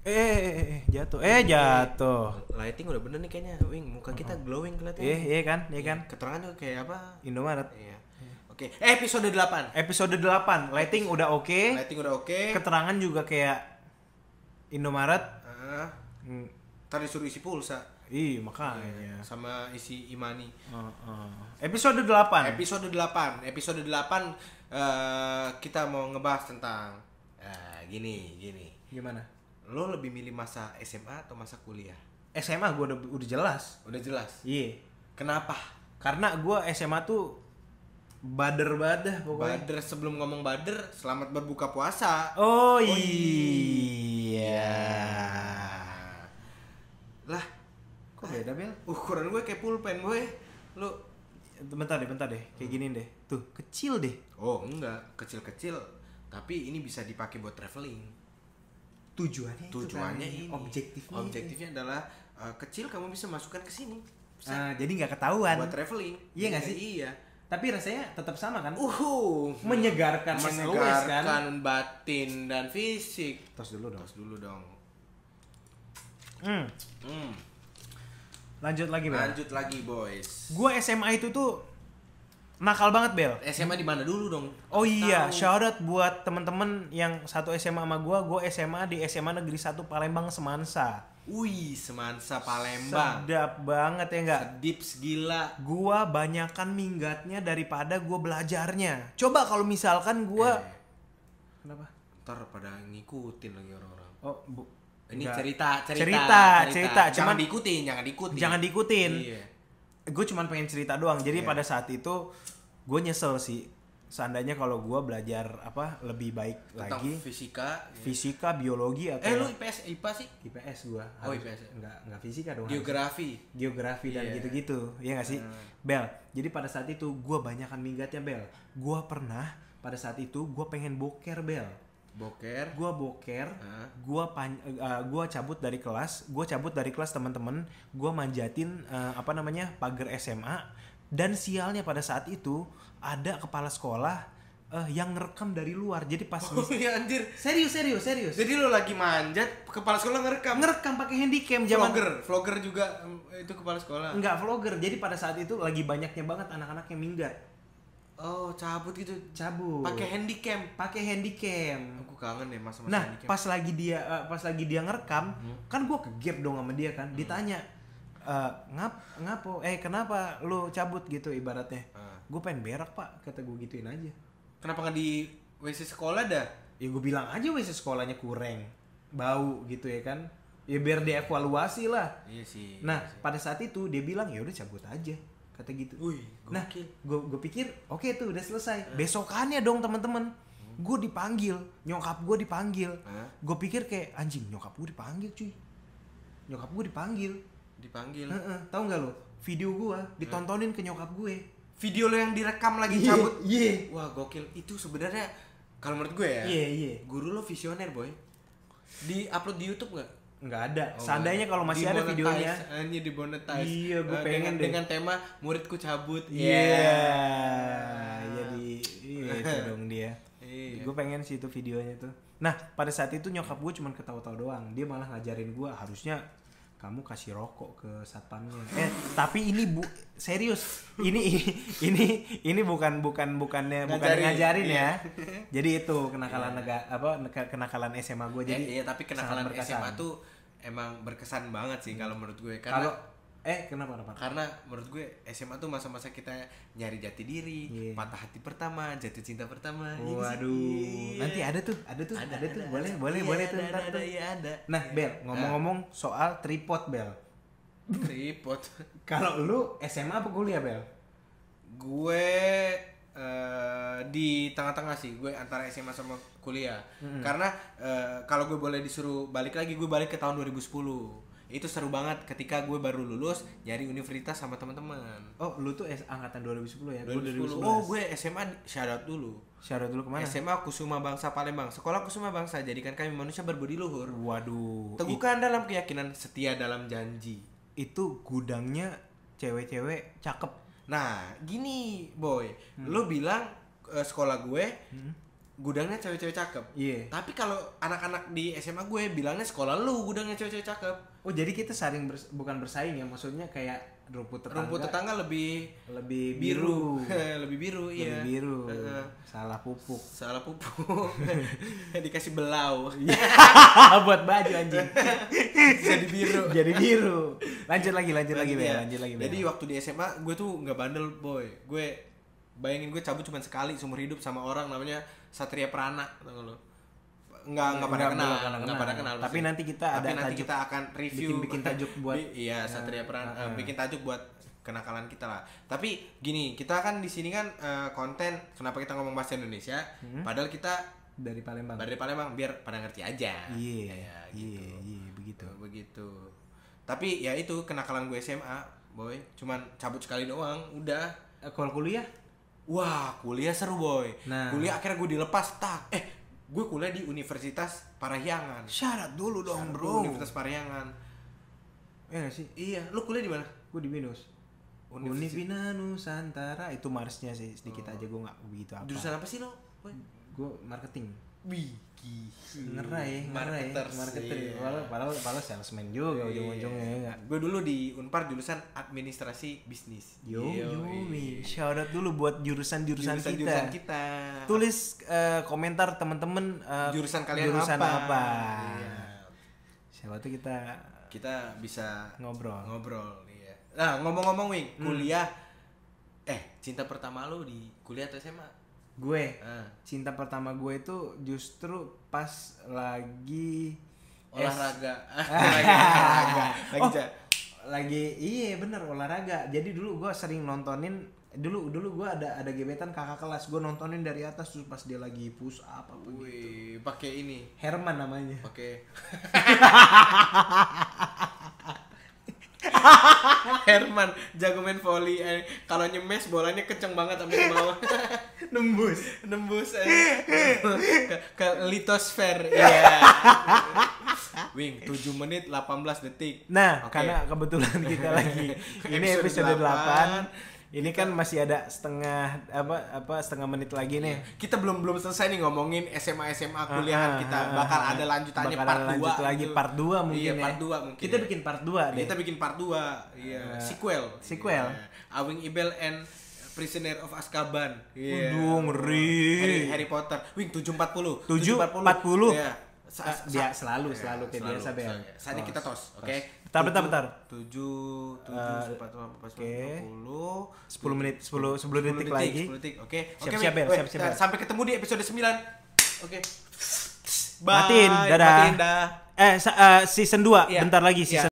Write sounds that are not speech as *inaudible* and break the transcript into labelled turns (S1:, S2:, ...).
S1: Eh, Iya, jatuh.
S2: Lighting udah bener nih kayaknya, Wing. Muka kita glowing kelihatannya.
S1: Iya, iya kan? Iya kan?
S2: Keterangan tuh kayak apa?
S1: Indomaret.
S2: Iya. Oke, eh, episode 8.
S1: Episode 8, lighting udah oke.
S2: Lighting udah oke.
S1: Keterangan juga kayak Indomaret.
S2: Ah,
S1: Hmm,
S2: Ntar disuruh isi pulsa
S1: Ih, makanya.
S2: sama isi imani.
S1: Oh, oh. Episode 8.
S2: Episode 8. Episode 8 eh, kita mau ngebahas tentang eh, gini, gini.
S1: Gimana?
S2: Lo lebih milih masa SMA atau masa kuliah?
S1: SMA gua udah udah jelas.
S2: Udah jelas.
S1: Iya.
S2: Kenapa?
S1: Karena gua SMA tuh bader-bader pokoknya.
S2: Bader sebelum ngomong bader, selamat berbuka puasa.
S1: Oh
S2: iya.
S1: iya.
S2: Lah,
S1: Kok beda bel?
S2: ukuran gue kayak pulpen gue. Lu
S1: Bentar deh, bentar deh. Kayak gini deh. Tuh, kecil deh.
S2: Oh, enggak, kecil-kecil. Tapi ini bisa dipakai buat traveling.
S1: Tujuannya itu
S2: Tujuannya
S1: kan,
S2: ini.
S1: Objektifnya.
S2: Objektifnya adalah eh, kecil kamu bisa masukkan ke sini. Bisa
S1: Ah, jadi nggak ketahuan.
S2: buat traveling.
S1: Iya nggak sih?
S2: Iya.
S1: Tapi rasanya tetap sama kan?
S2: Uhu.
S1: Menyegarkan SOS kan?
S2: Menyegarkan batin dan fisik.
S1: Tos dulu dong.
S2: Terus dulu dong.
S1: Hmm.
S2: Hmm.
S1: Lanjut lagi, Bel.
S2: Lanjut lagi, boys.
S1: Gua SMA itu tuh nakal banget, Bel.
S2: SMA di mana dulu dong?
S1: Oh iya,
S2: Tahu.
S1: shout out buat temen-temen yang satu SMA sama gua, gua SMA di SMA Negeri 1 Palembang Semansa.
S2: Wih, Semansa Palembang.
S1: Sedap banget ya enggak?
S2: Dips gila.
S1: Gua banyakan minggatnya daripada gua belajarnya. Coba kalau misalkan gua
S2: Eh,
S1: kenapa?
S2: ntar pada ngikutin lagi orang-orang.
S1: Oh, bu.
S2: Ini
S1: Enggak.
S2: cerita, cerita,
S1: Cerita, cerita.
S2: Jangan
S1: Cuman-
S2: diikutin, jangan diikutin.
S1: Jangan diikutin.
S2: Iya.
S1: Gue cuman pengen cerita doang. Jadi
S2: Iya.
S1: pada saat itu gue nyesel sih. Seandainya kalau gua belajar apa lebih baik
S2: Tentang
S1: lagi
S2: fisika. iya.
S1: fisika, biologi atau
S2: Eh lu IPS IPA sih?
S1: IPS gua.
S2: Oh,
S1: Harus-
S2: IPS.
S1: Enggak, enggak fisika dong. harus.
S2: Geografi.
S1: geografi dan
S2: Iya. Hmm.
S1: gitu-gitu ya nggak sih Bel jadi pada saat itu gue banyakan minggatnya Bel gue pernah pada saat itu gue pengen boker Bel
S2: Boker.
S1: gue boker
S2: Hah? *laughs*
S1: gue gua cabut dari kelas gue cabut dari kelas teman-teman gue manjatin eh, apa namanya pagar SMA dan sialnya pada saat itu ada kepala sekolah eh, yang ngerekam dari luar jadi pas
S2: Oh iya anjir.
S1: serius serius serius
S2: Jadi lu lagi manjat, kepala sekolah ngerekam.
S1: ngerekam pakai handycam zaman
S2: Vlogger, vlogger juga em, itu kepala sekolah.
S1: nggak vlogger jadi pada saat itu lagi banyaknya banget anak-anak yang minggat
S2: Oh, cabut gitu.
S1: cabut
S2: Pakai handycam.
S1: pakai handycam
S2: Aku kangen deh masa-masa
S1: nah
S2: handycam.
S1: pas lagi dia eh, pas lagi dia ngerekam
S2: Hmm.
S1: kan gue kegap dong sama dia kan ditanya eh, ngap ngapo eh kenapa lu cabut gitu ibaratnya
S2: Ah.
S1: gue pengen berak pak kata gue gituin aja
S2: Kenapa nggak di WC sekolah dah?
S1: ya gue bilang aja wes sekolahnya kurang bau gitu ya kan ya biar dievaluasi lah
S2: Iya sih.
S1: nah pada saat itu dia bilang ya udah cabut aja kata gitu
S2: Wih,
S1: Nah,
S2: gokil.
S1: gue pikir oke tuh udah selesai. Besokannya dong teman-teman, gue dipanggil, nyokap gue dipanggil.
S2: Hah?
S1: Gue pikir kayak anjing nyokap gue dipanggil cuy, nyokap gue dipanggil.
S2: dipanggil.
S1: Heeh, tahu nggak lo? Video gue ditontonin ke nyokap gue.
S2: Video lo yang direkam lagi
S1: Iya,
S2: cabut.
S1: Iya,
S2: Wah, gokil. Itu sebenarnya kalau menurut gue ya.
S1: iya, iya.
S2: Guru lo visioner, boy. Di upload di YouTube nggak?
S1: Oh, Nggak ada.
S2: Oh,
S1: Seandainya kalau masih ada
S2: Dimonetize,
S1: videonya,
S2: Hanya dimonetize.
S1: Iya, gue
S2: Eh,
S1: pengen
S2: dengan,
S1: deh.
S2: dengan tema muridku cabut.
S1: iya, jadi iya
S2: *laughs*
S1: itu dong dia.
S2: Iya.
S1: Gue pengen sih itu videonya tuh. Nah, pada saat itu nyokap gue cuman ketawa-tawa doang. Dia malah ngajarin gue harusnya kamu kasih rokok ke satpamnya. Eh, tapi ini bu serius. Ini *laughs* ini ini bukan bukan bukannya bukan
S2: Ngajarin,
S1: ngajarin
S2: iya.
S1: ya. *laughs* Jadi itu kenakalan nega- apa neka- kenakalan SMA gue
S2: Jadi
S1: jadi.
S2: iya, tapi kenakalan
S1: sangat berkesan. Iya.
S2: SMA tuh emang berkesan banget sih kalau menurut gue karena
S1: kalau eh kenapa kenapa?
S2: karena menurut gue SMA tuh masa-masa kita nyari jati diri,
S1: Iya.
S2: patah hati pertama, jatuh cinta pertama. Iya nggak sih?
S1: Waduh,
S2: Iya.
S1: nanti ada tuh, ada tuh, ada, tuh, boleh, boleh,
S2: Iya,
S1: boleh
S2: ada,
S1: tuh,
S2: ada,
S1: ntar
S2: ada,
S1: tuh.
S2: iya, ada.
S1: Nah, Bel, ngomong-ngomong soal tripod, Bel.
S2: Tripod.
S1: Kalau lu SMA apa kuliah, Bel?
S2: gue eh, di tengah-tengah sih, gue antara SMA sama kuliah. Karena eh, kalau gue boleh disuruh balik lagi, gue balik ke tahun 2010. Itu seru banget ketika gue baru lulus nyari universitas sama teman-teman.
S1: Oh, lu tuh S- angkatan 2010 ya? Gua
S2: 2010. Oh, gue SMA di- shout out dulu.
S1: Syarat dulu kemana?
S2: SMA Kusuma Bangsa Palembang. Sekolah Kusuma Bangsa jadikan kami manusia berbudi luhur.
S1: Waduh.
S2: Teguhkan dalam keyakinan, setia dalam janji.
S1: i- Itu gudangnya cewek-cewek cakep. Hmm.
S2: Nah, gini boy, lo bilang eh, sekolah gue gudangnya cewek-cewek cakep.
S1: Iya.
S2: Tapi kalau anak-anak di SMA gue bilangnya sekolah lu gudangnya cewek-cewek cakep.
S1: Oh jadi kita saling bers- bukan bersaing ya, maksudnya kayak rumput tetangga
S2: Rumput tetangga lebih
S1: lebih biru,
S2: biru,
S1: *laughs*
S2: *laughs* lebih biru
S1: lebih
S2: iya.
S1: biru,
S2: Heeh.
S1: salah pupuk.
S2: Salah pupuk. *laughs* Dikasih belau.
S1: *laughs* Iya. Buat baju anjing.
S2: *laughs* Jadi biru.
S1: jadi *laughs* biru. Lanjut lagi, lanjut lagi, Bel.
S2: Iya.
S1: lanjut lagi. Bel.
S2: Jadi waktu di SMA gue tuh nggak bandel boy. Gue bayangin gue cabut cuma sekali seumur hidup sama orang namanya Satria Prana tau nggak lo? Nggak nggak pada
S1: Nggak,
S2: kenal,
S1: nggak pada
S2: nggak
S1: kenal.
S2: pada kenal.
S1: Tapi
S2: pasti.
S1: nanti kita
S2: Tapi
S1: ada
S2: nanti
S1: tajuk.
S2: kita akan review
S1: Bikin-bikin tajuk buat- Ah,
S2: Bi- iya Satria Prana eh, bikin tajuk buat kenakalan kita lah. Tapi gini kita kan di sini kan eh, konten kenapa kita ngomong bahasa Indonesia?
S1: Hmm.
S2: Padahal kita
S1: dari Palembang.
S2: dari Palembang biar pada ngerti aja.
S1: Iya,
S2: Ya,
S1: iya,
S2: gitu
S1: iya, begitu.
S2: begitu tapi ya itu kenakalan gue SMA boy cuman cabut sekali doang udah
S1: Eh, Kalau kuliah?
S2: wah kuliah seru boy
S1: Nah.
S2: kuliah akhirnya gue dilepas tak eh gue kuliah di Universitas Parahyangan
S1: Syarat dulu dong, Bro.
S2: Universitas Parahyangan
S1: Ya nggak sih?
S2: iya lu kuliah di mana
S1: Gue di Binus.
S2: Universitas- Oh.
S1: Univina Nusantara itu Marsnya sih sedikit aja gue nggak begitu apa.
S2: jurusan apa sih lo Boy?
S1: Gue marketing.
S2: Wih,
S1: Ngerai, ngerai,
S2: Marketers,
S1: marketer.
S2: iya.
S1: Padahal, padahal, padahal salesman juga ujung-ujungnya ya nggak?
S2: Gue dulu di Unpar jurusan administrasi bisnis.
S1: Yo, yo,
S2: Yoi.
S1: shout out dulu buat jurusan-jurusan kita.
S2: iya. Jurusan-jurusan kita.
S1: Tulis eh, komentar temen-temen eh,
S2: jurusan kalian
S1: jurusan
S2: apa?
S1: apa.
S2: Iya.
S1: Siapa tuh kita
S2: Kita bisa
S1: ngobrol.
S2: ngobrol iya. Nah, ngomong-ngomong Wing, kuliah eh cinta pertama lu di kuliah atau SMA?
S1: Gue
S2: Ah,
S1: cinta pertama gue itu justru pas lagi eh,
S2: olahraga. Olahraga, *laughs* olahraga. Lagi
S1: Oh.
S2: ja-
S1: lagi iya bener olahraga jadi dulu gue sering nontonin dulu dulu gue ada ada gebetan kakak kelas gue nontonin dari atas terus pas dia lagi push up apa gitu
S2: Wih, pakai ini.
S1: Herman namanya
S2: Pakai Herman jago main volley eh, kalau nyemes bolanya kenceng banget sampai ke bawah Oh.
S1: *laughs* nembus
S2: nembus
S1: *laughs*
S2: eh, ke, ke litosfer iya Wing 7 menit 18 detik
S1: nah
S2: Oke.
S1: karena kebetulan
S2: *laughs*
S1: kita lagi ini episode 8,
S2: Episode delapan.
S1: ini kan masih ada setengah apa apa setengah menit lagi nih
S2: kita belum belum selesai nih ngomongin SMA SMA Iya. kuliahan
S1: Ah,
S2: kita
S1: ah,
S2: bakal
S1: ah,
S2: ada
S1: ah.
S2: lanjutannya
S1: Bakalan
S2: part 2
S1: lanjut lagi part 2 mungkin
S2: iya,
S1: ya.
S2: part 2 mungkin
S1: kita
S2: ya.
S1: bikin part 2 deh
S2: kita bikin part 2 iya
S1: Eh,
S2: sequel
S1: sequel.
S2: Iya. Awing Ibel and Prisoner of Azkaban iya
S1: Waduh, ngeri.
S2: Harry, Harry Potter Wing 740
S1: Tujuh
S2: 740.
S1: 40.
S2: Iya. Sa-
S1: Ah,
S2: sa-
S1: dia
S2: sa-
S1: selalu,
S2: iya,
S1: selalu kayak biasa, Bel.
S2: selalu. Saatnya kita tos, oke?
S1: Bentar, bentar, bentar. Eh,
S2: 7 7 empat empat
S1: oke.
S2: 40
S1: 10 menit 10 10 detik,
S2: 10
S1: lagi
S2: 10 detik. Oke. Oke,
S1: Siap-siap,
S2: Mik.
S1: Bel,
S2: Weh,
S1: siap-siap, Bel.
S2: Sampai ketemu di episode 9. Oke. Bye.
S1: Matiin, dadah.
S2: Matiin dah.
S1: eh sa- eh, season 2
S2: Iya.
S1: bentar lagi
S2: Iya.
S1: season